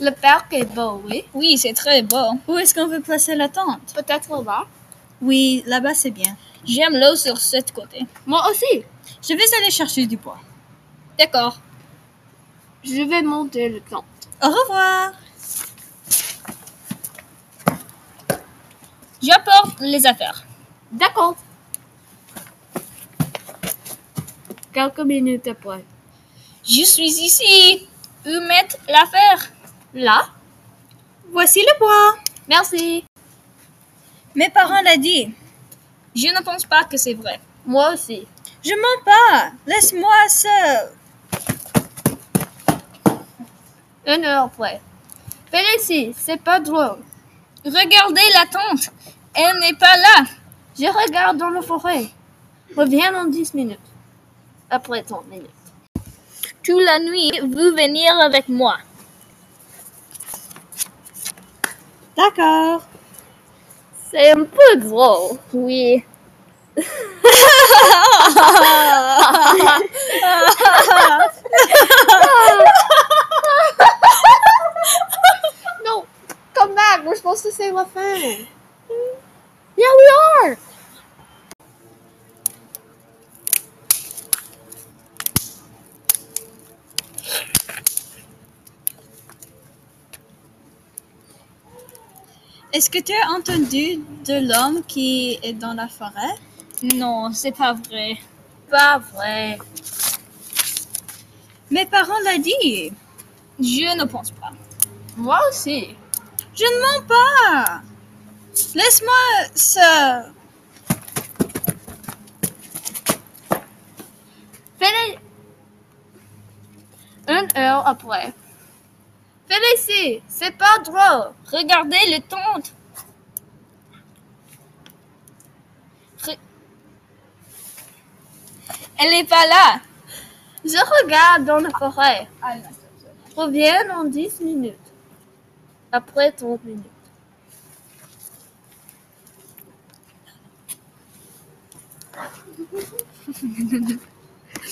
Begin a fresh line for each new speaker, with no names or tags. Le parc est beau, oui.
Oui, c'est très beau. Où est-ce qu'on veut placer la tente
Peut-être là.
Oui, là-bas c'est bien. J'aime l'eau sur ce côté.
Moi aussi.
Je vais aller chercher du bois. D'accord.
Je vais monter le tente.
Au revoir. J'apporte les affaires.
D'accord. Quelques minutes après.
Je suis ici. Où mettre l'affaire
Là.
Voici le bois.
Merci.
Mes parents l'ont dit. Je ne pense pas que c'est vrai.
Moi aussi.
Je mens pas. Laisse-moi seul.
Une heure après. Félicie, c'est pas drôle.
Regardez la tente. Elle n'est pas là.
Je regarde dans la forêt. Reviens dans 10 minutes. Après 30 minutes.
Toute la nuit, vous venir avec moi.
D'accord. C'est un peu drôle.
Oui.
No, come back. We're supposed to say Lafayette. Yeah, we are.
Est-ce que tu as entendu de l'homme qui est dans la forêt?
Non, c'est pas vrai.
Pas vrai.
Mes parents l'ont dit.
Je ne pense pas.
Moi aussi.
Je ne mens pas. Laisse-moi seul.
Félix. Une heure après. Félicie, c'est pas drôle.
Regardez le tente. Re- Elle n'est pas là.
Je regarde dans la forêt. Reviens dans 10 minutes. Après 30 minutes.